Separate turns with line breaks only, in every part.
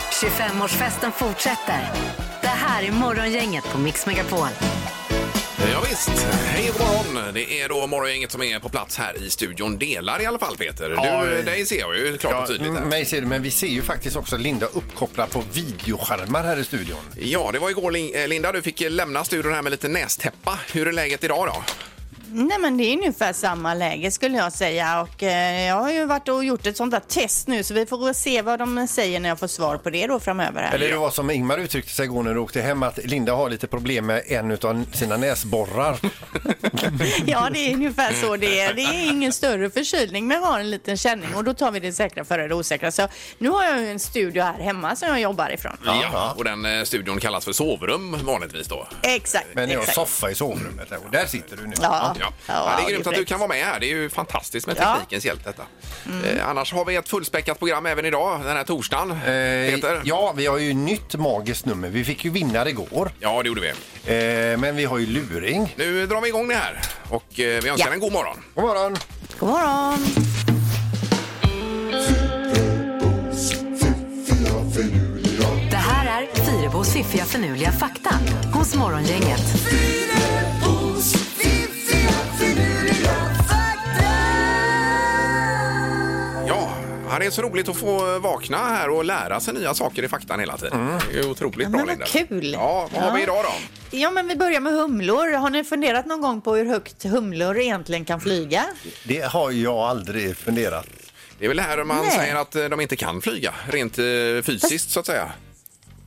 25-årsfesten fortsätter. Det här är Morgongänget på Mix Megapol.
Ja, visst. hej och morgon. Det är då morgongänget som är på plats här i studion. Delar i alla fall Peter.
Ja,
Du,
eh,
dig ser jag ju klart
Ja, mm.
och tydligt. Här.
mig ser du, men vi ser ju faktiskt också Linda uppkopplad på videoskärmar här i studion.
Ja, det var igår Lin- eh, Linda, du fick eh, lämna studion här med lite nästäppa. Hur är läget idag då?
Nej men det är ungefär samma läge skulle jag säga och eh, jag har ju varit och gjort ett sånt där test nu så vi får se vad de säger när jag får svar på det då framöver. Här.
Eller det var som Ingmar uttryckte sig igår när du åkte hem att Linda har lite problem med en av sina näsborrar.
Ja det är ungefär så det är. Det är ingen större förkylning men jag har en liten känning och då tar vi det säkra före det osäkra. Så nu har jag ju en studio här hemma som jag jobbar ifrån.
Ja, och den eh, studion kallas för sovrum vanligtvis då.
Exakt.
Men jag har
exakt.
soffa i sovrummet där, och där sitter du nu.
Ja.
Ja.
Ja,
det är grymt
det är
att du
fräckt.
kan vara med här. Det är ju fantastiskt med
Ja.
teknikens hjälp detta. Eh, annars har vi ett fullspäckat program även idag, den här torsdagen.
Eh,
Peter?
Ja, vi har ju nytt magiskt nummer. Vi fick ju vinnare igår.
ja, det gjorde vi.
Eh, men vi har ju luring.
Nu drar vi igång det här och eh, vi önskar
Ja.
en god morgon.
God morgon!
God morgon.
Det här är Fyrebos fiffiga förnuliga fakta hos Morgongänget.
Ja, ja, det är så roligt att få vakna här och lära sig nya saker i faktan hela tiden. Det är otroligt bra,
Mm. men vad
Linda.
kul.
Ja, vad har vi
Ja.
idag då?
Ja men vi börjar med humlor. Har ni funderat någon gång på hur högt humlor egentligen kan flyga?
Det har jag aldrig funderat.
Det är väl det här man
Nej.
säger att eh, de inte kan flyga, rent eh, fysiskt så att säga.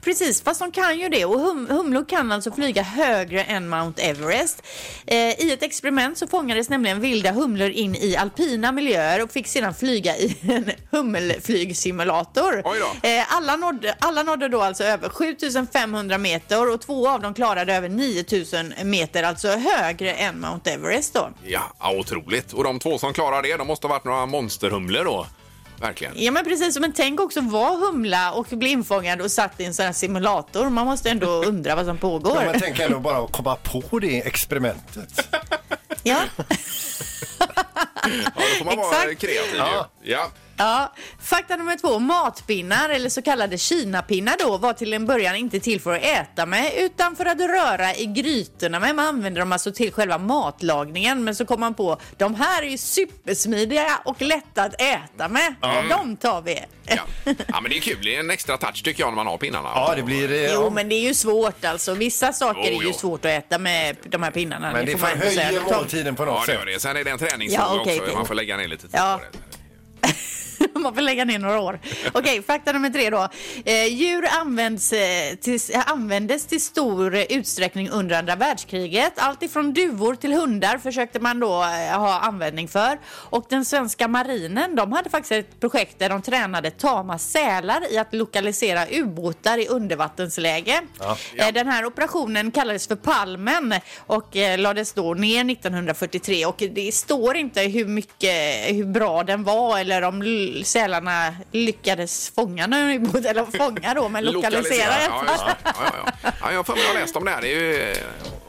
Precis, fast de kan ju det. Och hum humlor kan alltså flyga högre än Mount Everest. Eh, I ett experiment så fångades nämligen vilda humlor in i alpina miljöer och fick sedan flyga i en hummelflygsimulator.
Oj då.
Eh, alla, nådde, alla nådde då alltså över 7500 meter och två av dem klarade över 9000 meter, alltså högre än Mount Everest då.
Ja, ja, otroligt. Och de två som klarar det, de måste ha varit några monsterhumlor då. Verkligen.
Ja men precis, men tänk också vara humla och bli infångad och satt i en sån här simulator. Man måste ändå undra vad som pågår.
Ja, men tänk ändå bara att komma på det experimentet.
Ja.
Ja, då får man vara
Exakt.
kreativ
Ja.
ju. Ja.
Ja, fakta nummer två. Matpinnar, eller så kallade kinapinnar då, var till en början inte till för att äta med utan för att röra i grytorna med. Man använde dem alltså till själva matlagningen. Men så kom man på, de här är ju supersmidiga och lätta att äta med. De tar vi.
Ja. ja, men det är kul. Det är en extra touch tycker jag när man har pinnarna.
Ja, det blir... eh,
Jo,
ja.
men det är ju svårt alltså. Vissa saker
Jo,
är ju
jo.
svårt att äta med de här pinnarna.
Men det
får man ändå säga.
förhöjer
De tar-
måltiden på något
Ja, det
sätt.
gör det. Sen är det en träningsfråga
Ja, okej,
också.
okej.
Man får lägga ner lite tid
Ja.
på det.
Man får lägga ner några år. Okej, fakta nummer tre då. Eh, djur används, eh, till, användes till stor eh, utsträckning under andra världskriget. Allt ifrån duvor till hundar försökte man då eh, ha användning för. Och den svenska marinen, de hade faktiskt ett projekt där de tränade tama sälar i att lokalisera ubåtar i undervattensläge. Eh, den här operationen kallades för Palmen och eh, lades då ner 1943 och det står inte hur mycket, hur bra den var eller om l- sälarna lyckades fånga den ubåt, eller fånga då, men lokalisera den.
Ja, just det. ja, ja, ja. ja, jag har för mig att jag läst om det här. Det är ju eh,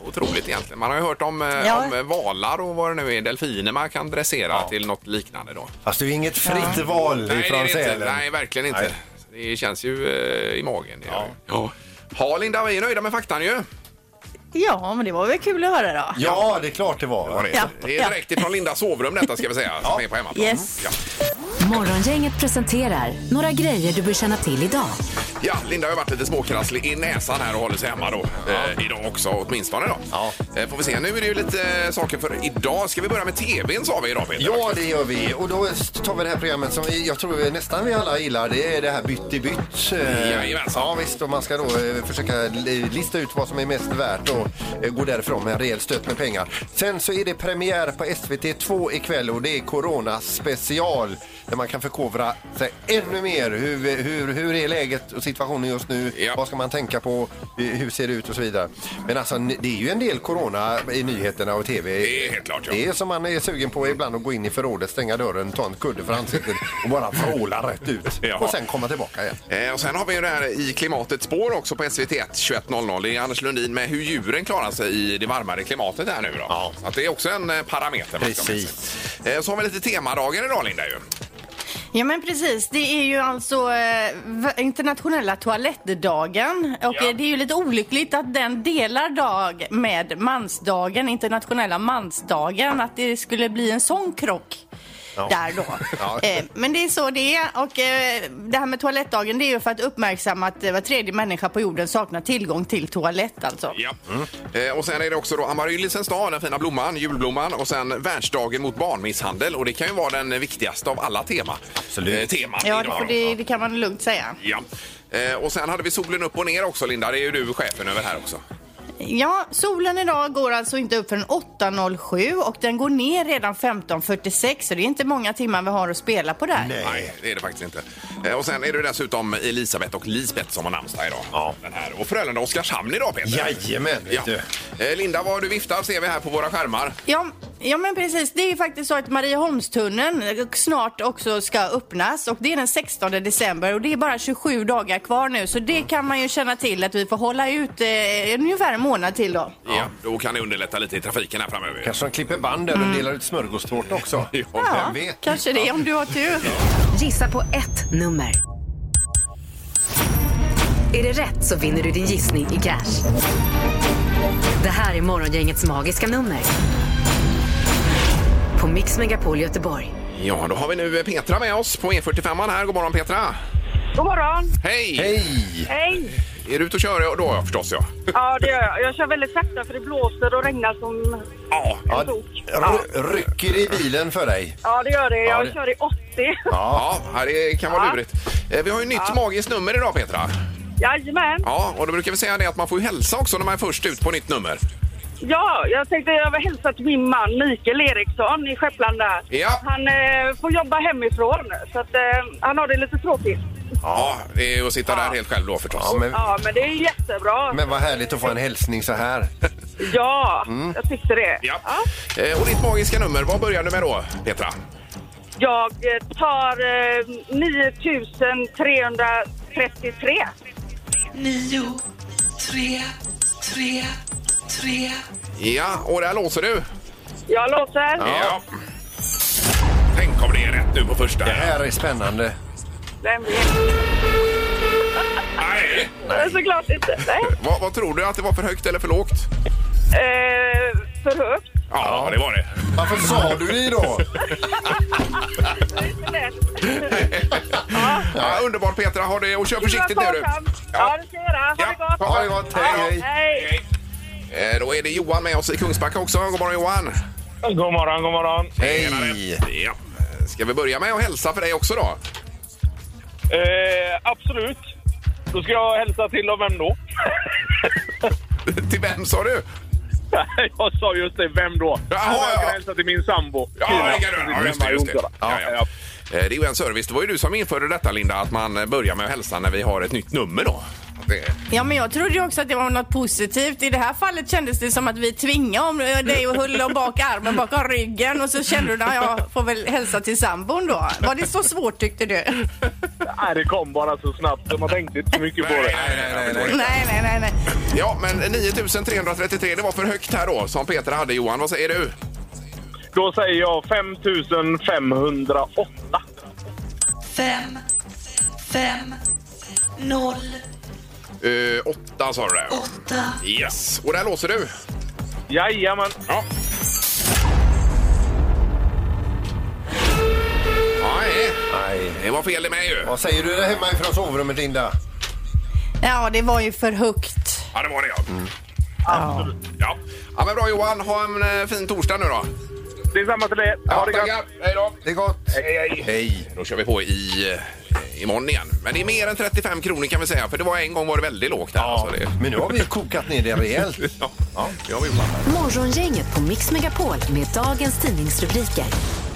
otroligt egentligen. Man har ju hört om, eh,
Ja.
om valar och vad det nu är, delfiner man kan dressera till något liknande då.
Fast det är inget fritt val
Nej, det är
ifrån
det inte.
Sälen.
Nej, verkligen inte.
Nej.
Så Det känns ju eh, i magen. det gör det. Ja. Ja, Linda, vi är nöjda med faktan ju.
Ja, men det var väl kul att höra då.
Ja, det är klart det var.
Det är- Det är
Ja.
direkt ifrån Lindas sovrum detta ska vi säga, som är på hemmaplan.
Yes.
Ja.
Morgongänget presenterar några grejer du bör känna till idag.
Ja, Linda har ju varit lite småkrasslig i näsan här och håller sig hemma då. Eh, idag också, åtminstone då.
Ja.
Eh, får vi se. Nu är det ju lite eh, saker för idag. Ska vi börja med TVn sa vi idag Peter?
Ja, det gör vi. Och då tar vi det här programmet som vi- jag tror vi nästan vi alla gillar. Det är det här bytt i bytt. Eh,
Jajamensan.
Ja, visst. Och man ska då eh, försöka li- lista ut vad som är mest värt och eh, gå därifrån med en rejäl stöt med pengar. Sen så är det premiär på SVT2 ikväll och det är Corona special där man kan förkovra sig ännu mer. Hur, hur, hur är läget och situationen just nu?
Ja.
Vad ska man tänka på? Eh, Hur ser det ut och så vidare. Men alltså, n- det är ju en del corona i nyheterna och tv.
Det är helt klart, ja.
Det är som man är sugen på ibland att gå in i förrådet, stänga dörren, ta en kudde för ansiktet och bara vråla rätt ut.
Ja.
Och sen komma tillbaka igen.
Eh, och sen har vi ju det här I klimatets spår också på SVT1 21.00. Det är Anders Lundin med hur djuren klarar sig i det varmare klimatet här nu då. Ja. Att det är också en eh, parameter. man ska ha med sig. Eh, så har vi lite temadagar idag Linda ju.
Ja men precis, det är ju alltså eh, v- internationella toalettdagen och
Ja.
eh, det är ju lite olyckligt att den delar dag med mansdagen, internationella mansdagen, att det skulle bli en sån krock. Där då.
Ja.
Eh, men det är så det är. Och eh, det här med toalettdagen det är ju för att uppmärksamma att eh, var tredje människa på jorden saknar tillgång till toalett alltså.
Ja. Eh, och sen är det också då amaryllisens dag, den fina blomman, julblomman och sen världsdagen mot barnmisshandel och det kan ju vara den viktigaste av alla tema. Eh,
Absolut.
teman
Ja,
idag
för
då.
det, det kan man lugnt säga.
Ja. Eh, och sen hade vi solen upp och ner också Linda, det är ju du chefen över här också.
Ja, solen idag går alltså inte upp förrän 8.07 och den går ner redan 15.46 så det är inte många timmar vi har att spela på där.
Nej, det är det faktiskt inte. Eh, och sen är det dessutom Elisabeth och Lisbeth som har namnsdag idag.
Ja.
Den här. Och Frölunda och Oskarshamn idag Peter.
Jajamän, vet
Ja.
du.
Eh, Linda, vad du viftar ser vi här på våra skärmar.
Ja, ja, men precis. Det är ju faktiskt så att Marieholmstunneln eh, snart också ska öppnas och det är den 16 december och det är bara 27 dagar kvar nu så det kan man ju känna till att vi får hålla ut eh, ungefär en månad till då.
Ja. då kan det underlätta lite i trafiken här framöver.
Kanske de klipper band där och delar ut smörgåstårta också.
Ja,
Ja,
vem vet?
kanske det om du har tur.
Gissa på ett nummer. Är det rätt så vinner du din gissning i cash. Det här är Morgongängets magiska nummer. På Mix Megapol Göteborg.
Ja, då har vi nu eh, Petra med oss på E45 här. God morgon Petra!
God morgon!
Hej!
Hej!
Hej!
Är du ute och kör då förstås ja?
Ja, det gör jag. Jag kör väldigt sakta för det blåser och regnar som...
Ja.
Ja,
Tok.
ry- rycker i bilen för dig.
Ja, det gör det.
Ja,
Jag
det-
kör i 80.
Ja, ja, det kan vara
Ja.
lurigt. Eh, Vi har ju nytt magiskt nummer idag Petra.
Jajamän!
Ja, och då brukar vi säga det att man får ju hälsa också när man är först ut på nytt nummer.
Ja, jag tänkte jag vill hälsa till min man Mikael Eriksson i Skepplanda.
Ja.
Han eh, får jobba hemifrån, så att, eh, han har det lite tråkigt.
Ja, det är ju att sitta där helt själv då förstås.
Ja, men,
Ja, men det är jättebra.
men vad Mm. härligt att få en hälsning så här.
Ja, jag tyckte det.
Ja. Eh, Och ditt magiska nummer, vad börjar du med då Petra?
Jag eh, tar eh, 9333.
nio, tre, tre, tre.
Ja, och där låser du.
Jag låter.
Tänk om det är rätt nu på första.
Det här är spännande.
Vem vet?
Nej.
Nej, Såklart inte. Nej.
Vad, vad tror du? Att det var för högt eller för lågt?
Eh, för högt.
Ja, det var det.
Varför sa du det då?
För lätt.
Ja, underbart Petra, ha det och kör
Gud, vad
försiktigt nu du.
sparsam. Ja, det ska jag göra. Ha det
Ja.
gott.
Ha det gott, hej, hej.
Hej.
Eh, Då är det Johan med oss i Kungsbacka också. God morgon Johan!
God morgon, god morgon.
Hej!
Ja. Eh, Ska vi börja med att hälsa för dig också då?
Eh, absolut. Då ska jag hälsa till av vem då?
Till vem sa du?
jag sa just det, vem då?
Jaha,
jag ska
ja.
hälsa till min sambo.
Ja, det kan du. Ja, just det. Just det. Ja, ja.
ja.
Eh, det är ju en service. Det var ju du som införde detta Linda, att man eh, börjar med att hälsa när vi har ett nytt nummer då. Att Det...
Ja, men jag trodde ju också att det var något positivt. I det här fallet kändes det som att vi tvingade om eh, dig och höll om bak armen bakom ryggen och så kände du att jag får väl hälsa till sambon då. Var det så svårt tyckte du?
Nej, det kom bara så snabbt så man tänkte inte så mycket på det.
nej,
Nej, nej, nej, nej.
Ja, men 9333, det var för högt här då, som Peter hade. Johan, vad säger du?
Då säger jag 5508.
Fem, fem, noll,
Eh, åtta sa du det.
åtta.
Yes, och där låser du.
Jajamän.
Ja. Nej,
Nej.
det var fel i mig ju.
Vad säger du där hemma ifrån sovrummet, Linda?
Ja, det var ju för högt.
Ja, det var det ja. Ja. ja, men bra Johan. Ha en eh, fin torsdag nu då.
Det är samma till er.
Ja,
Ha det gott.
tackar. Hej då.
Det är gott.
Hej, hej.
Hej.
Då kör vi på i eh, imorgon igen. Men det är mer än 35 kronor kan vi säga, för det var en gång var det väldigt lågt här.
Ja,
Alltså, det...
men nu har vi ju kokat ner det rejält.
Ja, ja, det har vi gjort.
Morgongänget på Mix Megapol med dagens tidningsrubriker.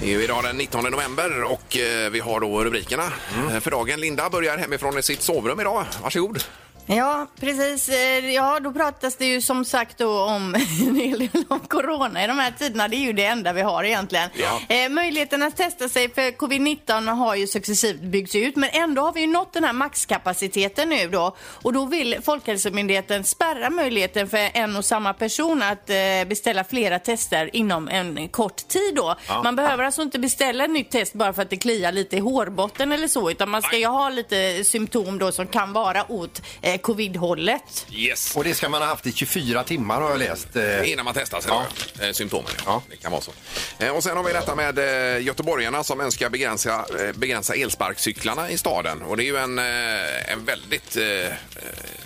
Det är ju idag den 19 november
Mm.
och eh, vi har då rubrikerna. Eh, För dagen, Linda börjar hemifrån i sitt sovrum idag. Varsågod.
Ja, precis. Eh, Ja, då pratas det ju som sagt då om en hel del om corona i de här tiderna. Det är ju det enda vi har egentligen.
Ja.
Eh, möjligheten att testa sig för covid-19 har ju successivt byggts ut, men ändå har vi ju nått den här maxkapaciteten nu då. Och då vill Folkhälsomyndigheten spärra möjligheten för en och samma person att eh, beställa flera tester inom en kort tid då. Man behöver alltså inte beställa ett nytt test bara för att det kliar lite i hårbotten eller så, utan man ska ju ha lite symptom då som kan vara åt eh, covid-hållet.
Yes.
Och det ska man ha haft i 24 timmar har jag läst. eh.
Innan man testar sig då, eh, symptomen. Ja.
Ja.
Det kan vara så. Eh, Och sen har vi detta med eh, göteborgarna som önskar begränsa, eh, begränsa elsparkcyklarna i staden. Och det är ju en, eh, en väldigt eh, eh,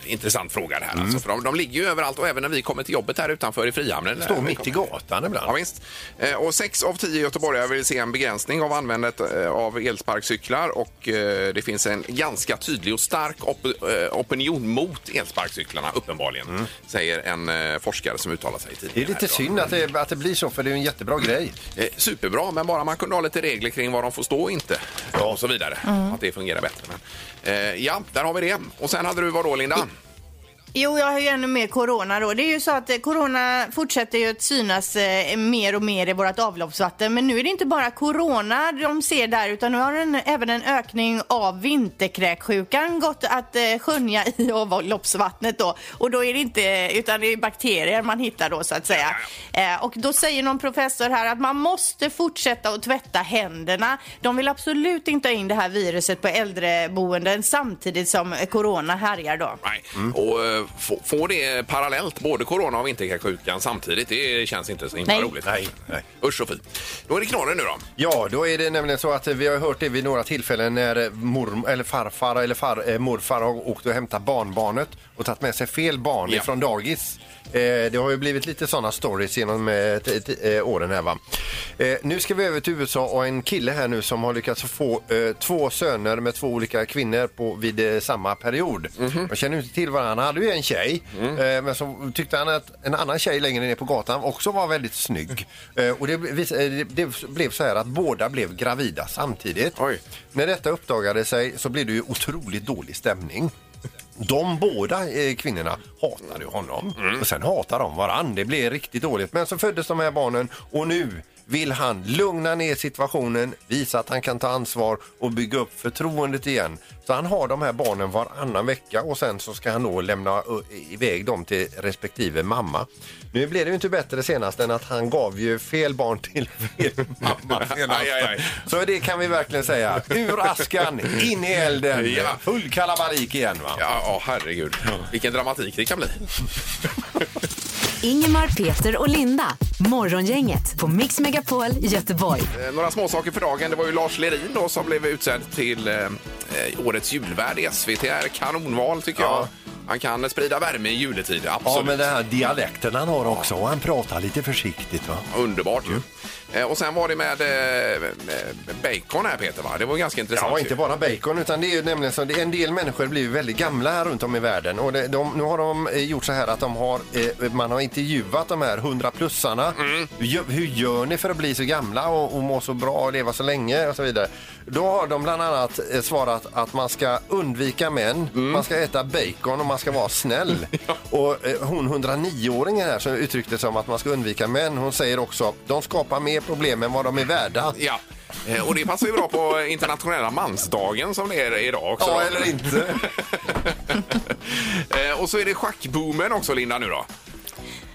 intressant fråga det här.
Mm.
Alltså, för de, de ligger ju överallt och även när vi kommer till jobbet här utanför i Frihamnen. eh,
Står mitt i gatan
Ja,
ibland.
visst. Eh, Och sex av tio göteborgare vill se en begränsning av användandet eh, av elsparkcyklar och eh, det finns en ganska tydlig och stark op- eh, opinion mot elsparkcyklarna uppenbarligen, säger en eh, forskare som uttalar sig i
Mm. Det är
tidningen
lite
här idag.
synd att det, att det blir så, för det är ju en jättebra grej.
Eh, Superbra, men bara man kunde ha lite regler kring var de får stå och inte och så vidare. Att det fungerar bättre. Men, eh, ja, där har vi det. Och sen hade du vad då, Linda?
Jo, jag har ju ännu mer corona då. Det är ju så att eh, corona fortsätter ju att synas eh, mer och mer i vårt avloppsvatten. Men nu är det inte bara corona de ser där, utan nu har den, även en ökning av vinterkräksjukan gått att eh, skönja i avloppsvattnet då. Och då är det inte, utan det är bakterier man hittar då så att säga. Eh, och då säger någon professor här att man måste fortsätta att tvätta händerna. De vill absolut inte ha in det här viruset på äldreboenden samtidigt som eh, corona härjar då.
Nej. Och eh, få, få det parallellt, både corona och vinterkräksjukan samtidigt, det känns inte så himla
Nej.
roligt.
Nej, nej.
Usch och fy. Då är det knorren nu då.
Ja, då är det nämligen så att vi har hört det vid några tillfällen när morm, eller farfar eller far, eh, morfar har åkt och hämtat barnbarnet och tagit med sig fel barn
Ja.
ifrån dagis. Eh, det har ju blivit lite sådana stories genom eh, t- t- eh, åren här va. Eh, nu ska vi över till USA och en kille här nu som har lyckats få eh, två söner med två olika kvinnor på, vid eh, samma period. Man känner ju inte till varandra. Han hade ju en tjej eh, men så tyckte han att en annan tjej längre ner på gatan också var väldigt snygg. Eh, och det, vis- eh, det, det blev så här att båda blev gravida samtidigt.
Oj.
När detta uppdagade sig så blev det ju otroligt dålig stämning. De båda eh, kvinnorna hatade ju honom och sen hatar de varann. Det blev riktigt dåligt. Men så föddes de här barnen och nu vill han lugna ner situationen, visa att han kan ta ansvar och bygga upp förtroendet igen. Så han har de här barnen varannan vecka och sen så ska han då lämna ö, iväg dem till respektive mamma. Nu blev det ju inte bättre senast än att han gav ju fel barn till fel mamma senast.
Aj, aj, aj.
Så det kan vi verkligen säga. Ur askan, in i elden,
Ja.
full kalabalik igen. Va?
Ja, ja herregud. Vilken dramatik det kan bli.
Ingemar, Peter och Linda. Morgongänget på Mix Megapol Göteborg.
Eh, Några småsaker för dagen. Det var ju Lars Lerin då som blev utsedd till eh, eh, årets julvärd i SVT. Är Kanonval tycker jag. Han kan sprida värme i juletid, absolut.
Ja, men den här dialekten han har också. Och han pratar lite försiktigt. Va?
Underbart
Mm.
ju. Eh, Och sen var det med eh, med bacon här Peter va? Det var ganska intressant.
Ja,
ju.
inte bara bacon, utan det är ju nämligen så det- en del människor blir ju väldigt gamla här runt om i världen. Och det, de, nu har de eh, gjort så här att de har, eh, man har intervjuat de här 100-plussarna. Hur, gö- hur gör ni för att bli så gamla och, och må så bra och leva så länge och så vidare. Då har de bland annat eh, svarat att man ska undvika män, man ska äta bacon och man ska vara snäll. Och eh, hon 109-åringen här som uttryckte som att man ska undvika män, hon säger också de skapar mer problem än vad de är värda.
Ja. Eh, Och det passar ju bra på internationella mansdagen som det är idag också.
Ja,
då.
eller inte.
Eh, Och så är det schackboomen också Linda nu då.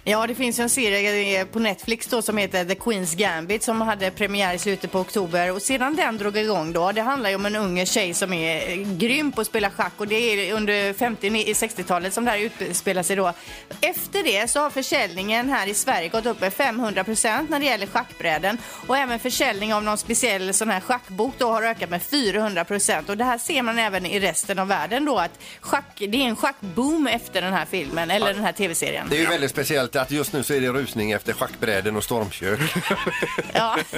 Ja, det finns ju en serie eh, på Netflix då som heter The Queen's Gambit som hade premiär i slutet på oktober och sedan den drog igång då. Det handlar ju om en ung tjej som är eh, grym på att spela schack och det är under 50-60-talet som det här utspelar sig då. Efter det så har försäljningen här i Sverige gått upp med 500 procent när det gäller schackbräden och även försäljning av någon speciell sån här schackbok då har ökat med 400 procent och det här ser man även i resten av världen då att schack, det är en schackboom efter den här filmen eller den här tv-serien.
Det är ju väldigt speciellt att just nu så är det rusning efter schackbräden och stormkök.
Ja,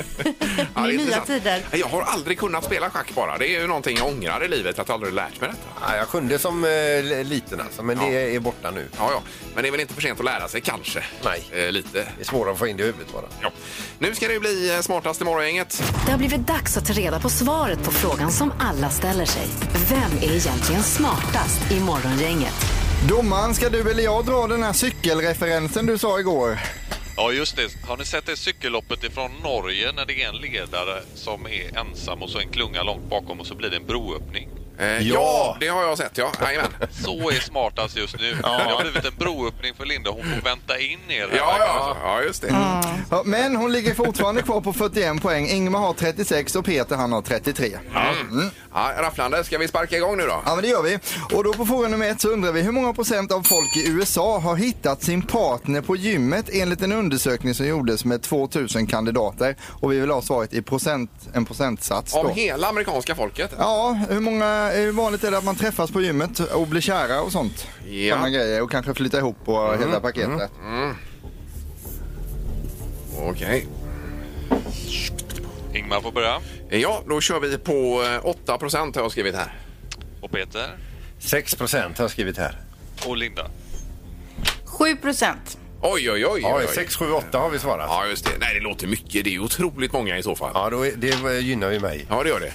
Ja, det är
med nya
intressant.
tider.
Jag har aldrig kunnat spela schack bara. Det är ju någonting jag ångrar i livet att jag aldrig lärt mig detta.
ja, jag kunde som eh, liten alltså, men det är borta nu.
Ja, ja. Men det är väl inte för sent att lära sig kanske?
Nej.
Eh, lite.
Det är svårare att få in det i huvudet bara.
Ja. Nu ska det ju bli eh, smartast i morgongänget.
Det har blivit dags att ta reda på svaret på frågan som alla ställer sig. Vem är egentligen smartast i Morgongänget?
Domaren, ska du eller jag dra den här cykelreferensen du sa igår?
Ja, just det. Har ni sett det cykelloppet ifrån Norge när det är en ledare som är ensam och så en klunga långt bakom och så blir det en broöppning?
Eh, ja. det har jag sett. Ja, Jajamän.
Så är smartast just nu. Det har blivit en broöppning för Linda. Hon får vänta in er. här,
Ja, ja,
alltså.
ja, just det.
Ja, men hon ligger fortfarande kvar på 41 poäng. Ingmar har 36 och Peter han har 33.
Ja, rafflande, ska vi sparka igång nu då?
Ja, men det gör vi. Och då på fråga nummer ett så undrar vi hur många procent av folk i USA har hittat sin partner på gymmet enligt en undersökning som gjordes med 2000 kandidater. Och vi vill ha svaret i procent, en procentsats
Om
då.
hela amerikanska folket?
Ja, hur, många, hur vanligt är det att man träffas på gymmet och blir kära och sånt?
Ja. Mm.
Såna grejer och kanske flytta ihop och hela paketet.
Okej.
Mm. Ingmar får börja.
Ja, då kör vi på eh, 8 procent har jag skrivit här.
Och Peter.
6 procent har jag skrivit här.
Och Linda.
7 procent.
Oj, oj, oj.
Ja,
oj, oj.
6, 7, 8 har vi svarat.
Ja, just det. Nej, det låter mycket. Det är ju otroligt många i så fall.
Ja, då är, det gynnar ju mig.
Ja, det gör det.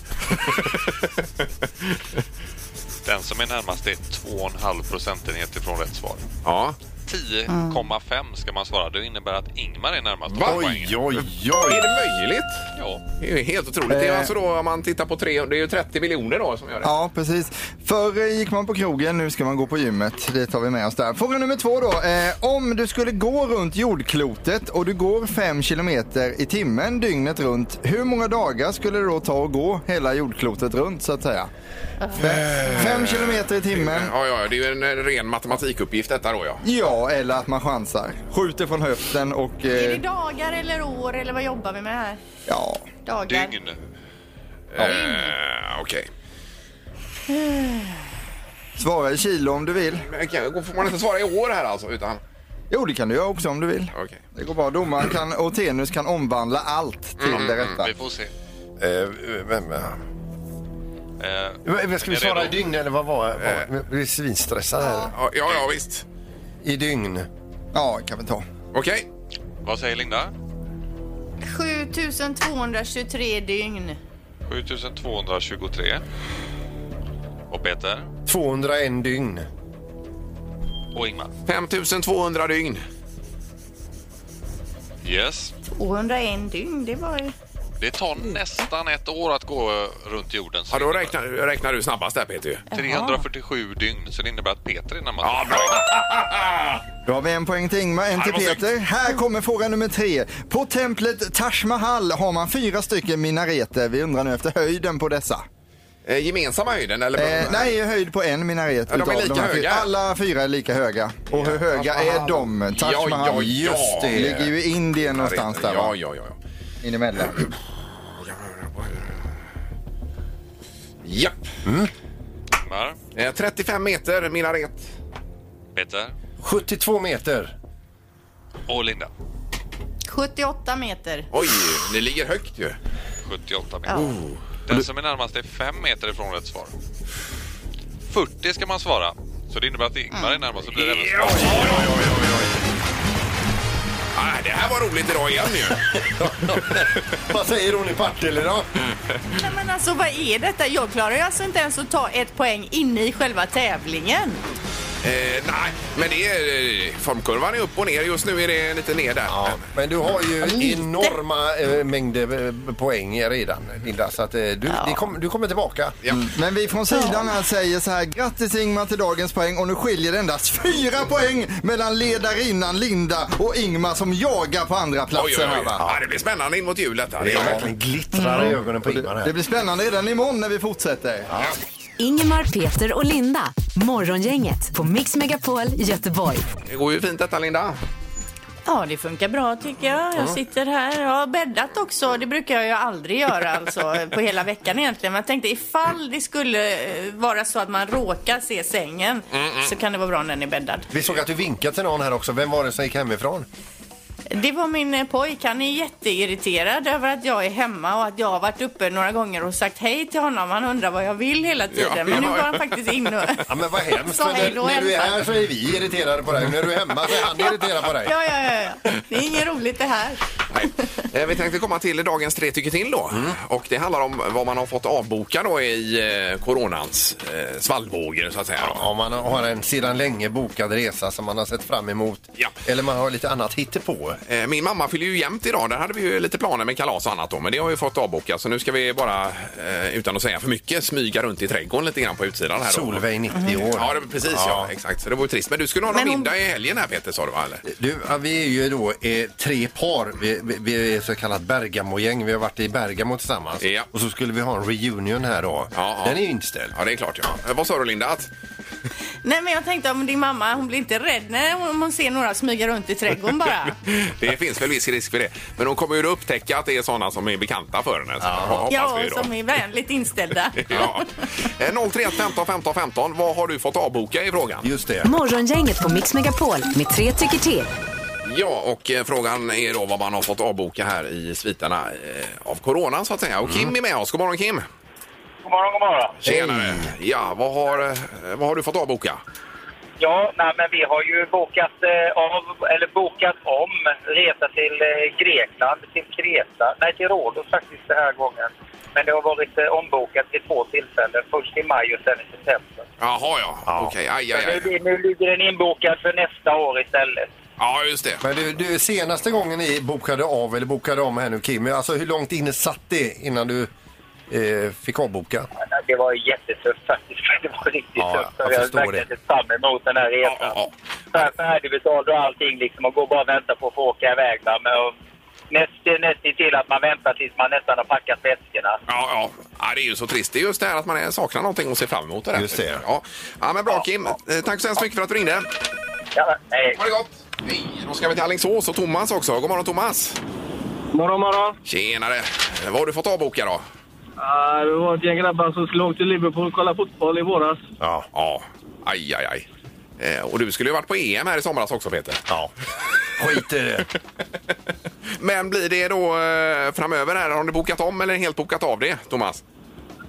Den som är närmast är 2,5 procentenhet ifrån rätt svar.
Ja.
10,5 ska man svara. Det innebär att Ingmar är närmast. av poängen.
Oj, oj,
Är
oj!
det möjligt?
Ja.
Det är ju helt otroligt. Det är alltså då om man tittar på tre, det är ju 30 miljoner då som gör det.
Eh. Ja, precis. Förr eh, gick man på krogen, nu ska man gå på gymmet. Det tar vi med oss där. Fråga nummer två då. Eh, om du skulle gå runt jordklotet och du går 5 kilometer i timmen dygnet runt, hur många dagar skulle det då ta att gå hela jordklotet runt så att säga? 5 kilometer i timmen.
Eh. Ja, ja, det är ju en ren matematikuppgift detta då ja.
Ja, eller att man chansar. Skjuter från höften och...
Är det
Eh,
dagar eller år eller vad jobbar vi med här?
ja.
Dagar.
Dygn.
Eh, Okej.
Svara i kilo om du vill.
Men kan- Får man inte svara i år här alltså? Utan...
Jo, det kan du göra också om du vill.
Okej.
Det går bra. Domaren kan, och Tenus kan omvandla allt till det rätta.
Vi får se.
Eh, vem, eh,
Eh,
vem ska vi
Är
svara i
redo? Eh.
dygn eller vad var det? Vi är svinstressade här.
Ja, ja, ja, visst.
I dygn.
Ja, kan vi ta.
Okej.
vad säger Linda?
7223 dygn.
7223. Och Peter.
201 dygn.
Och Ingmar.
5200 dygn.
Yes.
201 dygn, det var ju...
Det tar nästan ett år att gå eh, runt jorden. Så
Ja, då räknar, räknar du snabbast där Peter ju.
347 dygn, så det innebär att Peter är närmast.
Ja, bra.
Då har vi en poäng till Ingmar, en
det
till
var snyggt.
Peter. Här kommer fråga nummer tre. På templet Taj Mahal har man fyra stycken minareter. Vi undrar nu efter höjden på dessa.
Eh, Gemensamma höjden eller?
Eh, nej, höjd på en minaret.
Ja, de är
utav
lika
här fyra.
höga.
Alla fyra är lika höga. Och hur höga är de? Taj
Ja,
Mahal
ja, just det.
ligger ju i Indien någonstans där
Ja,
va?
ja, ja.
Inemellan.
Ja.
Ingmar,
Eh, 35 meter minaret.
Peter
72 meter.
och Linda.
78 meter.
Oj, ni ligger högt ju.
78 meter. Den som är närmast är 5 meter ifrån rätt svar. 40 ska man svara. Så det innebär att Ingmar är närmast. Så blir det även
Ja, oj, oj, oj, oj, oj. Ah, det här var roligt idag igen ju.
Vad säger hon i Partille då?
Nej, men alltså vad är detta? Jag klarar ju alltså inte ens att ta ett poäng inne i själva tävlingen.
Eh, nej, men det är, eh, formkurvan är upp och ner. Just nu är det lite ner där.
Ja, men du har ju enorma eh, mängder eh, poäng redan, Linda. Så att, eh, du, det kom, du kommer tillbaka.
Men vi från sidan här säger så här, grattis Ingmar till dagens poäng och nu skiljer det endast fyra poäng mellan ledarinnan Linda och Ingmar som jagar på andra
Oj, oj,
platsen
oj.
här va?
Ja, det blir spännande in mot jul detta. Det
Det
är
är
jag.
verkligen glittrar i ögonen på Ingmar
Det
här.
blir spännande redan imorgon när vi fortsätter.
Ingemar, Peter och Linda. Morgongänget på Mix Megapol Göteborg.
Det går ju fint detta, Linda.
Ja, det funkar bra tycker jag. Jag sitter här. Jag har bäddat också. Det brukar jag ju aldrig göra alltså på hela veckan egentligen. Men jag tänkte ifall det skulle eh, vara så att man råkar se sängen så kan det vara bra när den är bäddad.
Vi såg att du vinkade till någon här också. Vem var det som gick hemifrån?
Det var min eh, pojk. Han är jätteirriterad över att jag är hemma och att jag har varit uppe några gånger och sagt hej till honom. Han undrar vad jag vill hela tiden.
Ja,
men nu
ja.
var han faktiskt inne och...
Ja, men vad hemskt.
Sa
men
hej
När,
då
när du
i
är
alla fall.
här så är vi irriterade på dig. När du är hemma så är han irriterad på dig.
Ja, ja, ja, ja. Det är inget roligt det här.
Nej. Eh, Vi tänkte komma till dagens tre tycker till då. Och det handlar om vad man har fått avboka då i eh, coronans eh, svallvågor så att säga. då.
Om man har en sedan länge bokad resa som man har sett fram emot
Ja.
eller man har lite annat hittepå.
Eh, Min mamma fyller ju jämnt idag. Där hade vi ju lite planer med kalas och annat då. Men det har vi fått avboka. Så nu ska vi bara, eh, utan att säga för mycket, smyga runt i trädgården lite grann på utsidan här då.
Solveig 90
Mm.
år.
Ja, det, precis. Ja. exakt. Så det vore trist. Men du skulle ha någon
Men hon-
middag i helgen här Peter, sa du va? Eller?
Du, ja, vi är ju då eh, tre par. Vi, vi, vi är så kallat Bergamo-gäng. Vi har varit i Bergamo tillsammans.
Ja.
Och så skulle vi ha en reunion här då.
Ja, ja.
Den är ju inställd.
Ja, det är klart ja. Eh, Vad sa du Linda? Att...
Nej, men jag tänkte om din mamma, hon blir inte rädd när hon, om hon ser några smyga runt i trädgården bara.
Det finns väl viss risk för det. Men hon kommer ju att upptäcka att det är sådana som är bekanta för henne. Så hoppas
Ja,
vi då.
och som är vänligt inställda.
Ja. Eh, 031 15 15 15. Vad har du fått avboka i frågan?
Just det.
Morgongänget på Mix Megapol med tre tycker till.
Ja, och eh, frågan är då vad man har fått avboka här i sviterna eh, av coronan så att säga. Och Kim är med oss. God morgon Kim!
God morgon, god morgon.
Mm. Tjenare! Ja, vad har, eh, vad har du fått avboka?
Ja, nej, men vi har ju bokat, eh, av, eller bokat om resa till eh, Grekland, till Kreta, nej till Rhodos faktiskt den här gången. Men det har varit eh, ombokat vid två tillfällen, först i maj och sen i september.
Jaha ja, okej. Aj, aj,
Men nu,
aj.
blir- nu ligger den inbokad för nästa år istället.
Ja, just det.
Men du, du, senaste gången ni bokade av eller bokade om här nu Kim, alltså hur långt inne satt det innan du eh, fick avboka?
Nej, Det var jättetufft faktiskt. Det var riktigt
Ja,
tufft.
jag
Jag
förstår
har verkligen sett fram emot den här resan.
Ja, ja,
Så här färdigbetald och allting liksom och går bara och väntar på att få åka iväg. Va? Men, och, näst, det är nästintill att man väntar tills man nästan har packat väskorna.
Ja, ja. ja, det är ju så trist. Det är just det här att man är- saknar någonting och ser fram emot det. Där.
Just det.
Ja. ja, men bra Kim. Eh, Tack så hemskt mycket för att du ringde.
Ja, nej.
Ha det gott! Hej. Då ska vi till Alingsås och Thomas också. God morgon Thomas!
Morgon, morgon.
Tjenare! Eh, Vad har du fått avboka då?
Uh, det var ett gäng grabbar som skulle åka till Liverpool och kolla fotboll i våras.
Ja. ja. Aj, aj, aj. Eh, och du skulle ju varit på EM här i somras också Peter.
Ja. Skit i det.
Men blir det då eh, framöver här? Har du bokat om eller helt bokat av det Thomas?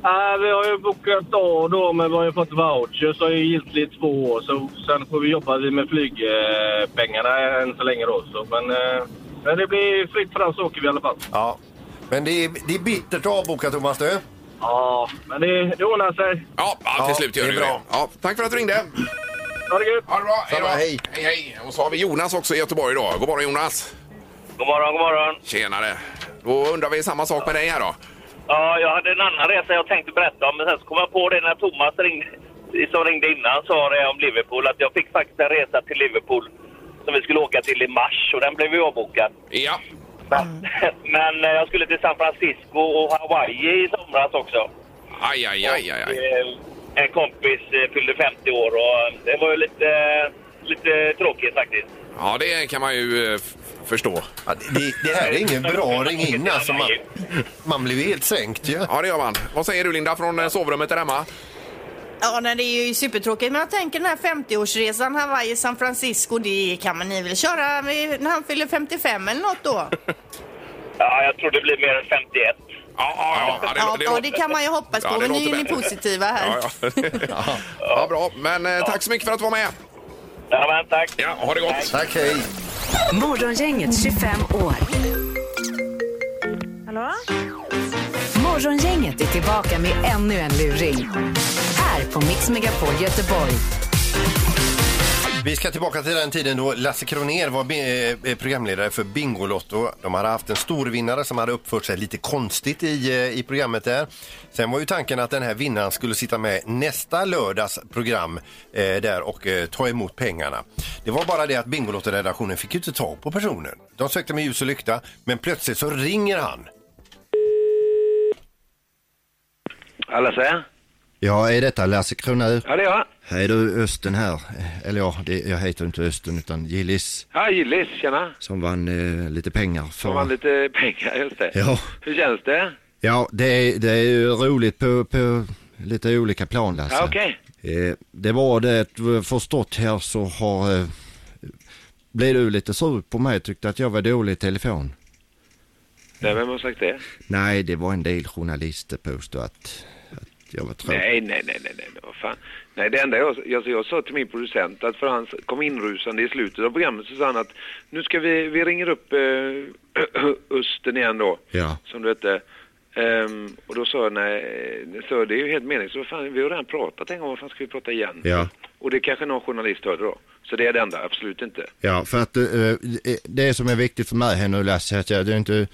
Ja, vi har ju bokat av då, men vi har ju fått voucher så är ju giltigt i två år. Så, sen får vi jobba med flygpengarna än så länge då. Så, men, eh, men det blir fritt fram så åker vi i alla fall.
Ja. Men det är, det är bittert att avboka Thomas du.
Ja, men det, det ordnar sig.
Ja, ja till
Ja,
slut gör
det
det
är
ju
bra.
det. Ja, tack för att du ringde.
Ha det gött!
Ha det bra. Hej, då.
Samma, hej.
hej, hej. Och så har vi Jonas också i Göteborg idag. God morgon Jonas.
God morgon, god morgon.
Tjenare. Då undrar vi samma sak med dig här då.
Ja, jag hade en annan resa jag tänkte berätta om, men sen så kom jag på det när Thomas ringde, som ringde innan sa det om Liverpool, att jag fick faktiskt en resa till Liverpool som vi skulle åka till i mars och den blev ju avbokad.
Ja.
Men, men eh, jag skulle till San Francisco och Hawaii i somras också.
Aj, aj, aj, aj, aj.
Eh, En kompis eh, fyllde 50 år och det var ju lite, eh, lite tråkigt faktiskt.
Ja, det kan man ju eh, f- förstå.
Ja, det, det, det här är ingen bra ring in alltså. Man, man blir ju helt sänkt ju.
Ja, det gör man. Vad säger du Linda från eh, sovrummet där hemma?
Ja, nej, det är ju supertråkigt. Men jag tänker den här 50-årsresan Hawaii-San Francisco, det kan man ni väl köra eh, när han fyller 55 eller något då?
Ja, jag tror det blir mer än 51.
Ja, ja, ja.
Ja, ja,
låter-
det kan man ju hoppas på.
Ja, det
men nu
låter
är ni
bättre.
positiva här.
Ja, ja. ja, bra. Men eh, tack så mycket för att du var med.
Ja, men tack!
Ja, ha det gott.
Tack, hej.
Morgongänget 25 år.
Hallå?
Morgongänget är tillbaka med ännu en luring. Här på Mix Megapol Göteborg.
Vi ska tillbaka till den tiden då Lasse Kronér var bi- eh, programledare för Bingolotto. De hade haft en storvinnare som hade uppfört sig lite konstigt i, eh, i programmet där. Sen var ju tanken att den här vinnaren skulle sitta med nästa lördags program eh, där och eh, ta emot pengarna. Det var bara det att Bingolotto-redaktionen fick ju inte tag på personen. De sökte med ljus och lykta, men plötsligt så ringer han.
Lasse?
Ja, är detta Lasse Kronér?
Ja, det är jag.
Hej du, Östen här. Eller ja, det, jag heter inte Östen utan Gillis
Ja, Gillis, tjena.
som vann eh, lite pengar
Får
för...
man lite pengar, just det.
Ja,
Hur känns det?
ja det, är, det är ju roligt på, på lite olika plan Lasse.
Ja, okej.
Eh, det var det, att vi förstått här så har eh, blev du lite sur på mig och tyckte att jag var dålig i telefon?
Nej, vem har sagt det?
Nej, det var en del journalister påstod att, att jag var trött.
Nej, nej, nej, nej, nej, vad fan. Nej, det enda jag, jag, jag sa till min producent att för han kom inrusande i slutet av programmet så sa han att nu ska vi, vi ringer upp eh, Östen igen då,
Ja.
som du hette. Ehm, och då sa jag nej, så det är ju helt meningslöst, Vad fan, vi har redan pratat en gång, vad fan ska vi prata igen?
Ja.
Och det kanske någon journalist hörde då. Så det är det enda, absolut inte.
Ja, för att eh, det som är viktigt för mig här nu Lasse, är att jag, det är inte,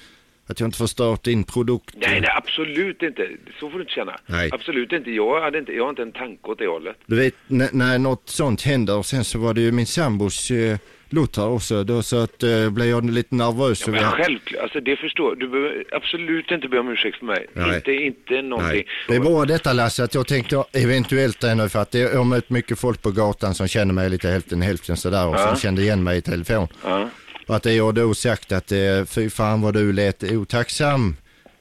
att jag inte förstört din produkt.
Nej, nej, absolut inte. Så får du inte känna.
Nej.
Absolut inte. Jag, hade inte. jag har inte en tanke åt det hållet.
Du vet, när, när något sånt händer, och sen så var det ju min sambos eh, Lothar också, då så att eh, blev jag lite nervös. så vi-
Men självklart, alltså det förstår Du behöver absolut inte be om ursäkt för mig.
Nej.
Inte, inte någonting.
Det är bara detta Lasse, att jag tänkte eventuellt ännu för att det- jag har mött mycket folk på gatan som känner mig lite hälften hälften sådär och
Ja.
som kände igen mig i telefon.
Ja.
Och att jag då sagt att eh, fy fan vad du lät otacksam.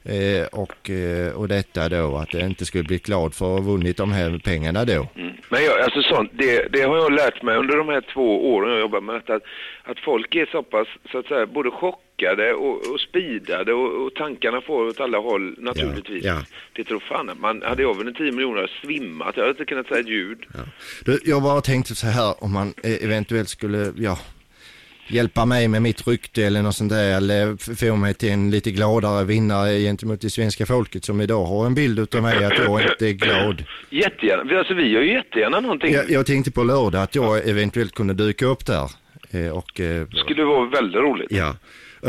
Eh, och, eh, och detta då, att jag inte skulle bli glad för att ha vunnit de här pengarna då.
Men jag, alltså sånt, det, det har jag lärt mig under de här två åren jag jobbar med detta. Att, att folk är så pass, så att säga, både chockade och, och speedade och, och tankarna får åt alla håll naturligtvis.
ja.
Det tror fan att man, hade jag vunnit 10 miljoner hade jag svimmat. Jag hade inte kunnat säga ett ljud.
Du, jag bara tänkte så här om man eh, eventuellt skulle, ja, hjälpa mig med mitt rykte eller något sånt där eller f- få mig till en lite gladare vinnare gentemot det svenska folket som idag har en bild utav mig att jag inte är glad.
Jättegärna, Vi- alltså vi gör ju jättegärna någonting.
Jag, jag tänkte på lördag att jag eventuellt kunde dyka upp där eh, och eh,
Det skulle vara väldigt roligt.
ja,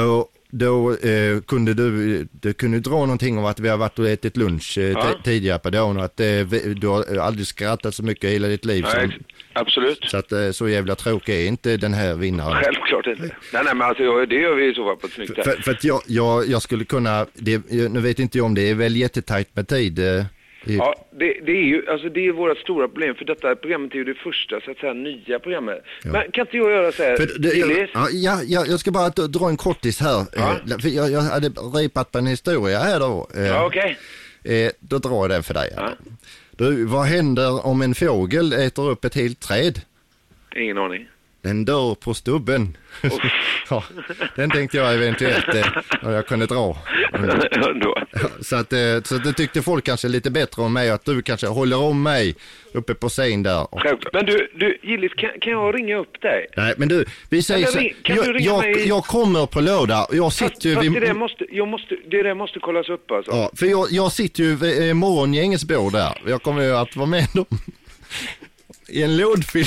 och då eh, kunde du, du kunde dra någonting om att vi har varit och ätit lunch eh,
Ja.
ti- tidigare på dagen och att eh, vi, du har aldrig skrattat så mycket i hela ditt liv.
Nej,
som,
ex- absolut.
Så att eh, så jävla tråkig är inte den här vinnaren.
Självklart inte. Nej, nej, men alltså jag, det gör vi i så fall på ett snyggt sätt.
För, för att jag, jag, jag skulle kunna, det, nu vet inte jag om det är väl jättetajt med tid. eh, i-
Ja, det, det är ju alltså det är vårt stora problem för detta programmet är ju det första så att säga nya programmet. Men kan inte jag göra så här?
För det, jag,
Gillis?
ja, ja, ja, jag ska bara d- dra en kortis här. eh, För jag, jag hade repat på en historia här då. eh,
Ja, okej.
eh, Då drar jag den för dig. här då. Du, vad händer om en fågel äter upp ett helt träd?
Ingen aning.
Den dör på stubben. ja, den tänkte jag eventuellt eh, om jag kunde dra. Ja, så, att, eh, så att det tyckte folk kanske lite bättre om mig, att du kanske håller om mig uppe på scen där. Och,
Självklart. Men du, du Gillis, kan, kan jag ringa upp dig?
nej, men du, vi säger
Kan
så
du ring- kan du
jag,
ringa
jag,
mig?
jag kommer på lördag och jag sitter ju
Fast det där
vid...
måste, jag måste, det där måste kollas upp alltså.
Ja, för jag, jag sitter ju vid eh, morgongängets bord där. Jag kommer ju att vara med dem i en lådfilm.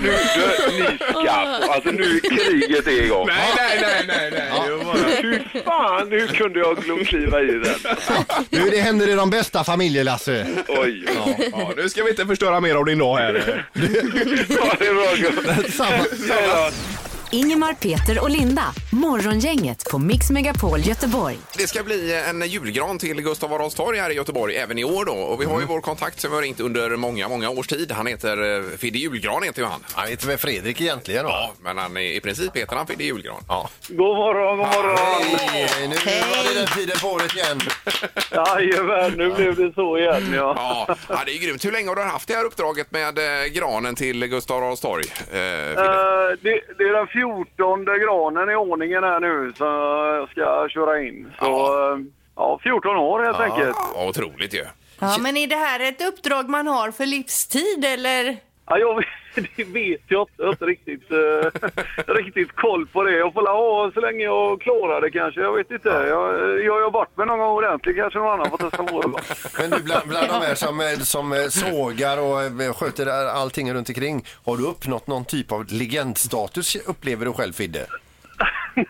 Nu, du, ni ska, alltså nu är kriget är igång.
Nej, nej, nej, nej, nej.
Hur fan, hur kunde jag glo- kliva i den?
Nu det händer i de bästa familjer Lasse.
Oj.
Ja, ja, nu ska vi inte förstöra mer av din dag här.
Ha det bra gubben.
Samma,
samma.
Ingemar, Peter och Linda. Morgongänget på Mix Megapol Göteborg.
Det ska bli eh, en julgran till Gustav Adolfs torg här i Göteborg även i år då. Och vi har
Mm.
ju vår kontakt som vi har ringt under många, många års tid. Han heter eh, Fidde Julgran heter ju han.
Han heter väl Fredrik egentligen?
Ja, men han är, i princip heter han Fidde Julgran.
Ja.
God morgon, god morgon.
Hej, nu var det den tiden på året igen.
Jajamän, nu blev det så igen ja.
Ja, ja, det är ju grymt. Hur länge har du haft det här uppdraget med eh, granen till Gustav Adolfs torg? Eh, Fidde?
Eh, det, det är den fjortonde granen i ordningen här nu som jag ska köra in. Så, ja. ja, 14 år helt enkelt.
Ja, otroligt ju.
Ja, men är det här ett uppdrag man har för livstid eller?
Ja, jag, vet- det vet jag inte. Jag har inte riktigt, eh, riktigt koll på det. Jag får la ha så länge jag klarar det kanske. Jag vet inte. Jag, jag gör bort mig någon gång ordentligt kanske någon annan får testa på det.
Men du, bland, bland de här som, eh, som eh, sågar och eh, sköter allting runt omkring. Har du uppnått någon typ av legendstatus upplever du själv Fidde?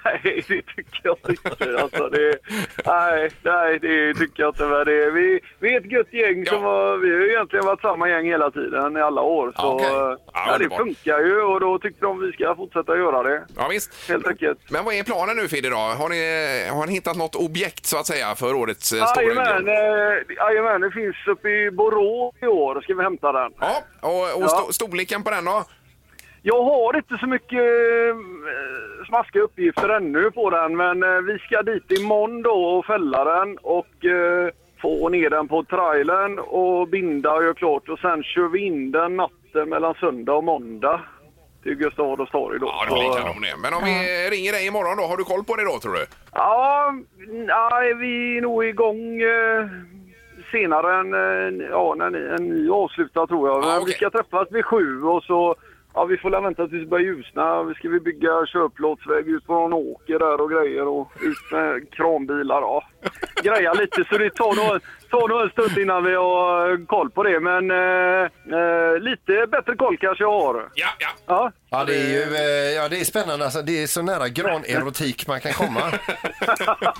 nej, det tycker jag inte. Alltså, det, nej, nej, det tycker jag inte. Men det, vi, vi är ett gött gäng. Som har, vi har ju egentligen varit samma gäng hela tiden, i alla år. Så,
okej.
ja, det
underbart.
funkar ju och då tyckte de vi ska fortsätta göra det.
Ja, visst.
Helt enkelt.
Men vad är planen nu Fidde då? Har ni, eh, har ni hittat något objekt så att säga för årets eh, stora
Jajamän,
jubileum?
eh, jajamän, det finns uppe i Borås i år. Ska vi hämta den?
Ja, och, och sto- storleken på den då?
Jag har inte så mycket eh, smaskiga uppgifter ännu på den, men eh, vi ska dit imorgon då och fälla den och eh, få ner den på trailern och binda och göra klart. Och sen kör vi in den natten mellan söndag och måndag till Gustav Adolfs torg då.
Ja, det blir kanon det. Men om vi ringer dig imorgon då, har du koll på det då tror du?
Ja, nej, vi är nog igång eh, senare än, eh, ja, när ni, än ni avslutar tror jag. Men Vi ska träffas vid sju och så Ja, vi får väl vänta tills det börjar ljusna. Vi ska vi bygga köplåtsväg ut på någon åker där och grejer och ut med kranbilar. Ja. Greja lite så det tar nog, tar nog en stund innan vi har koll på det. Men eh, eh, lite bättre koll kanske jag har.
Ja, ja.
ja.
Ja, det är ju eh, ja, det är spännande. Alltså, det är så nära granerotik man kan komma.
ja,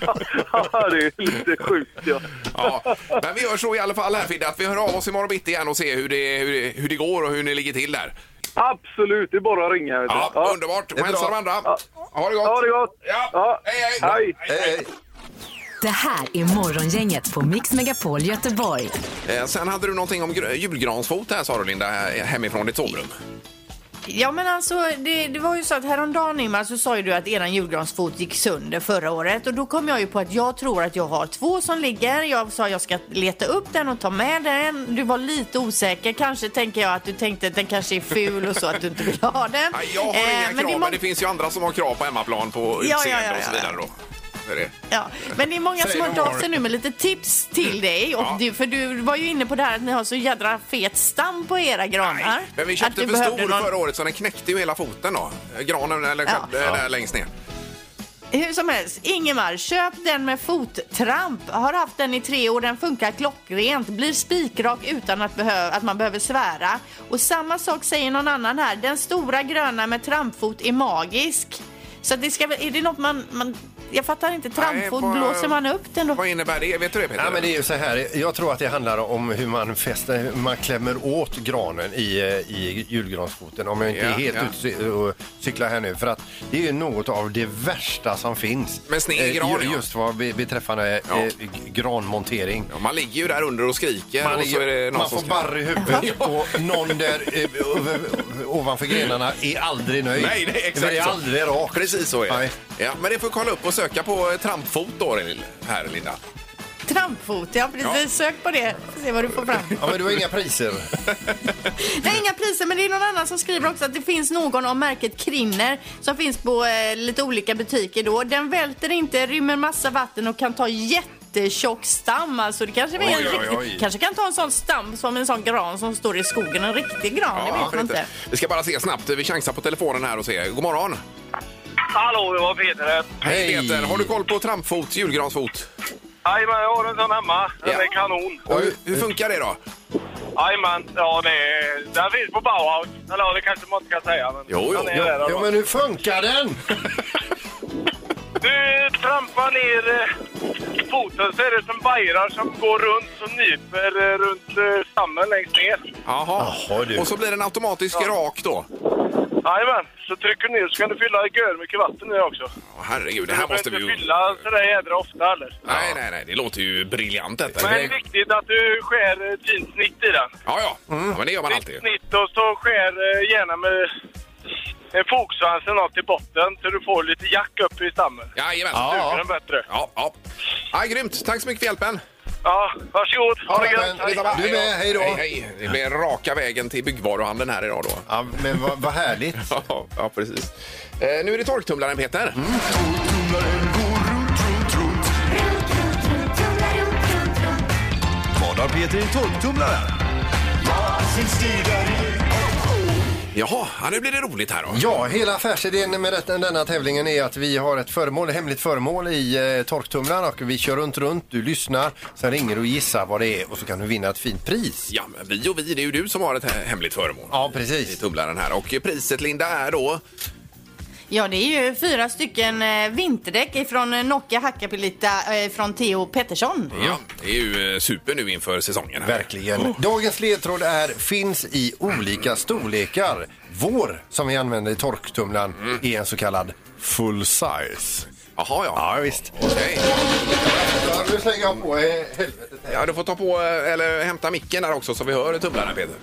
det är lite sjukt. Ja.
Ja, men vi gör så i alla fall här Fidde, att vi hör av oss imorgon bitti igen och ser hur det, hur, det, hur det går och hur ni ligger till där.
Absolut, det är bara att ringa. Vet du.
Ja, underbart.
Det är
Och hälsa
bra.
de andra.
Ja.
Ha det gott!
Ha det gott!
Ja. Hej, hej.
Eh,
hej.
Det här är Morgongänget på Mix Megapol Göteborg.
Eh, Sen hade du någonting om gr- julgransfot här sa du Linda, he- hemifrån ditt sovrum.
Ja men alltså det, det var ju så att häromdagen Ingmar så sa ju du att eran julgransfot gick sönder förra året och då kom jag ju på att jag tror att jag har två som ligger. Jag sa jag ska leta upp den och ta med den. Du var lite osäker. Kanske tänker jag att du tänkte att den kanske är ful och så att du inte vill ha den.
Nej, Jag har inga
Eh,
krav,
det är
men,
må-
det finns ju andra som har krav på hemmaplan på
Ja, ja,
utseende
ja,
och så
ja,
vidare då. Det är det.
Ja, men det är många
Säg
som har
vad
hört
har
av sig
du?
nu med lite tips till dig. Och
Ja.
du, för du var ju inne på det här att ni har så jädra fet stam på era granar.
Men vi
Att du
köpte för
behövde
stor
någon-
förra året så den knäckte ju hela foten då. Eh, Granen eller
Ja.
ja.
Ja.
där längst ner.
Hur som helst, Ingemar, köp den med fottramp. Har haft den i tre år, den funkar klockrent. Blir spikrak utan att, behö- att man behöver svära. Och samma sak säger någon annan här. Den stora gröna med trampfot är magisk. Så det ska väl, är det något man, man jag fattar inte, trampfot,
vad-
blåser man upp den då?
Vad innebär det? Vet du det Peter?
Ja, men det är ju så här. Jag tror att det handlar om hur man, fäster, hur man klämmer åt granen i, eh, i julgransfoten. Om jag inte
Ja,
är helt
ja.
ute och cyklar här nu. För att det är ju något av det värsta som finns. Eh,
Med sned gran,
ju-
ja.
Just vad be- beträffande
Ja.
eh, g- granmontering.
Ja, man ligger ju där under och skriker
Man,
och så är det eh, någon
man
som
får
skriker.
barr i huvudet och någon där eh, över- ovanför grenarna är aldrig nöjd.
Nej, det är
För
exakt
det är
så.
aldrig rakt.
Precis så är det.
Nej.
Ja, men det får kolla upp och söka på eh, trampfot då här Linda.
Trampfot, ja precis. Sök på det, Får se vad du får fram.
Ja, men du har inga priser.
Nej, inga priser, men det är någon annan som skriver också att det finns någon av märket Krinner som finns på eh, lite olika butiker då. Den välter inte, rymmer massa vatten och kan ta jättetjock stam. Alltså det kanske, är en
Oj, oj,
riktig,
oj.
kanske kan ta en sån stam som en sån gran som står i skogen. En riktig gran, det vet
varför
man inte.
Vi ska bara se snabbt. Vi chansar på telefonen här och ser. God morgon!
Hallå, det var Peter här.
Hej Peter! Har du koll på trampfot, julgransfot?
Jajamän, jag har en sån hemma. Den
Ja.
är kanon.
Och hur, hur funkar det då?
Jajamän, ja det är... Den finns på Bauhaus. Eller ja, det kanske man inte ska säga. Men
Jo, jo.
den är där
Ja,
då.
men hur funkar den?
Du trampar ner eh, foten så är det som bajrar som går runt som nyper eh, runt eh, stammen längst ner.
Jaha.
Jaha, du.
Och så blir den automatiskt rak då?
Jajamän, så trycker du ner så kan du fylla gör mycket vatten nu också.
Åh, Herregud, det här
Du
måste vi
behöver
ju...
inte fylla sådär jädra ofta heller.
Nej, nej, nej, det låter ju briljant detta.
Men det är viktigt att du skär ett fint snitt i den.
Ja, ja. ja, men det gör man alltid.
Snitt och så skär eh, gärna med en fogsvans eller något i botten så du får lite jack upp i stammen.
Jajamän.
Ja. Suger den bättre.
Ja, ja. ja, grymt. Tack så mycket för hjälpen.
Ja, varsågod. Ha det
Ja,
gött.
men-
Hej.
Du med, hej då.
Hej, hej. Det blir raka vägen till byggvaruhandeln här idag då.
Ja, men vad, vad härligt.
Ja, ja precis. Eh, nu är det torktumlaren, Peter.
Mm. Vad har Peter i torktumlaren?
Jaha, ja, nu blir det roligt här då.
Ja, hela affärsidén med detta, denna tävlingen är att vi har ett föremål, ett hemligt föremål i eh, torktumlaren och vi kör runt, runt, du lyssnar, sen ringer du och gissar vad det är och så kan du vinna ett fint pris.
Ja, men vi och vi, det är ju du som har ett he- hemligt föremål.
Ja,
I
precis.
tumlaren här. Och priset, Linda, är då...
Ja, det är ju fyra stycken eh, vinterdäck ifrån eh, Nokia Hakkapelita eh, från Theo Pettersson.
Ja, det är ju eh, super nu inför säsongen. Här.
Verkligen. Dagens ledtråd är finns i olika storlekar. Vår, som vi använder i torktumlaren, är en så kallad full size.
Mm. Jaha, ja.
Ja, visst.
Okej.
Nu slänger jag på Eh, helvetet
Ja, du får ta på, eh, eller hämta micken där också så vi hör tumlaren Peter.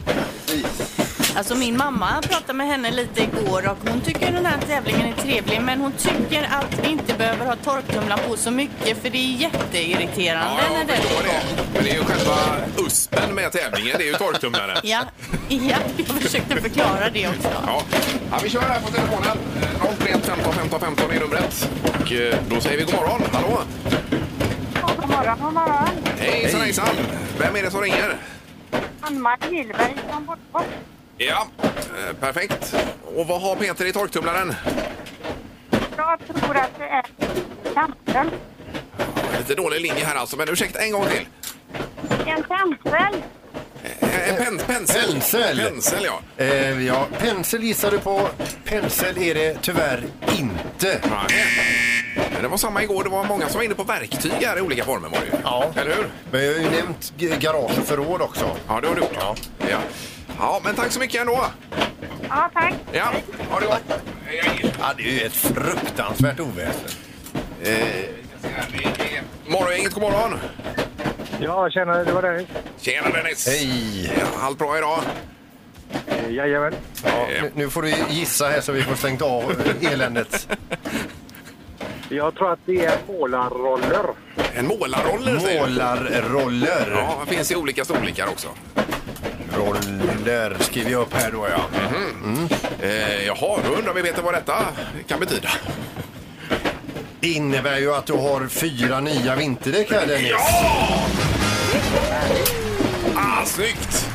Alltså min mamma pratade med henne lite igår och hon tycker den här tävlingen är trevlig men hon tycker att vi inte behöver ha torktumlaren på så mycket för det är jätteirriterande när den är igång.
Men det är ju själva uspen med tävlingen, det är ju torktumlaren.
Ja, ja, jag försökte förklara det också.
Ja. ja, vi kör här på telefonen. Eh, 031 15 15 15 är numret. Och eh, då säger vi god morgon. Hallå!
God morgon, god morgon.
Hejsan hejsan! Vem är det som ringer?
Ann-Marie Gillberg från Bortfors.
Ja, eh, perfekt. Och vad har Peter i torktumlaren?
Jag tror att det är tämpel.
Lite dålig linje här alltså, men ursäkta en gång till.
En tämpel.
Eh, En pen, pensel.
Pensel.
Pensel, ja.
Eh, ja, pensel gissar du på. Pensel är det tyvärr inte.
Men Det var samma igår, det var många som var inne på verktyg här i olika former var det ju. Ja. Eller hur?
Men jag har ju nämnt g- garage och förråd också.
Ja, det har du gjort. Ja. Ja. ja, men tack så mycket ändå.
Ja, tack.
Ja, ha det gott.
Ja, det är ju ett fruktansvärt oväsen.
Morgongänget, god morgon.
Ja, tjena, det var det.
Tjena Dennis. Hej. Allt bra idag?
Eh, Jajamän.
Ja, nu, nu får du gissa här så vi får stängt av eh, eländet.
Jag tror att det är målarroller.
En målarroller säger du?
Målarroller.
Ja, det finns i olika storlekar också.
Roller skriver jag upp här då, ja.
Eh, jaha, då undrar vi Peter vad detta kan betyda.
Det innebär ju att du har fyra nya vinterdäck här, Dennis.
Ah, snyggt!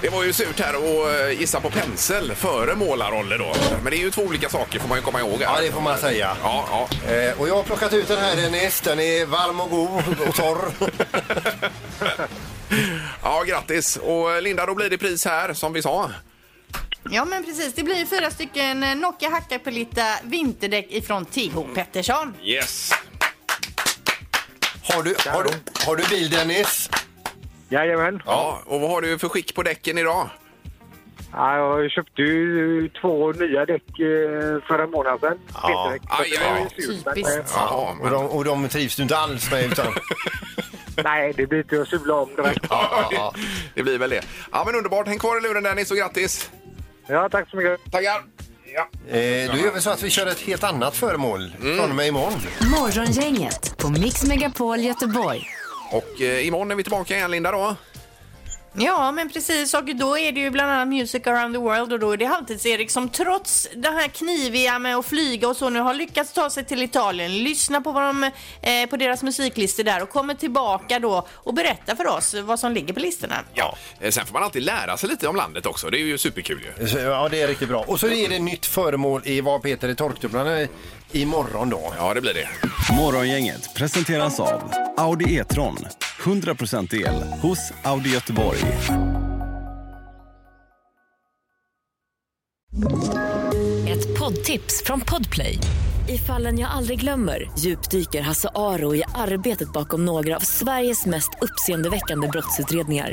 Det var ju surt här att eh, gissa på pensel före målarroller då. Men det är ju två olika saker får man ju komma ihåg. Här.
Ja, det får man säga.
Ja, ja.
Eh, och jag har plockat ut den här, Dennis. Den är varm och god och torr.
ja, grattis. Och eh, Linda, då blir det pris här som vi sa.
Ja, men precis. Det blir fyra stycken eh, Nokia Hakkapelita vinterdäck ifrån Theo Pettersson.
Yes.
Har du, har du, har du bil, Dennis?
Jajamän.
Ja, och vad har du för skick på däcken idag?
Ja, jag köpte ju två nya däck eh, för en månad sedan. Vinterdäck. Så det var ju surt, men, eh,
Ja, och, de, och de trivs du inte alls med utan...
Nej, det blir inte att sula om direkt.
Det blir väl det. Ja, men underbart. Häng kvar i luren Dennis och grattis.
Ja, tack så mycket.
Tackar. Ja.
Eh, då gör vi så att vi kör ett helt annat föremål
Mm.
från och med imorgon.
Morgongänget på Mix Megapol Göteborg.
Och eh, imorgon är vi tillbaka igen Linda då.
Ja, men precis. Och då är det ju bland annat Music around the world och då är det Halvtids-Erik som trots det här kniviga med att flyga och så nu har lyckats ta sig till Italien, lyssna på, vad de, eh, på deras musiklistor där och kommer tillbaka då och berätta för oss vad som ligger på listorna.
Ja. Eh, Sen får man alltid lära sig lite om landet också. Det är ju superkul ju.
Så, Ja, det är riktigt bra. Och så är det ett nytt föremål i vad Peter i torktumlaren i- imorgon då.
Ja, det blir det.
Morgongänget presenteras av Audi E-tron. 100% el hos Audi Göteborg.
Ett poddtips från Podplay. I fallen jag aldrig glömmer djupdyker Hasse Aro i arbetet bakom några av Sveriges mest uppseendeväckande brottsutredningar.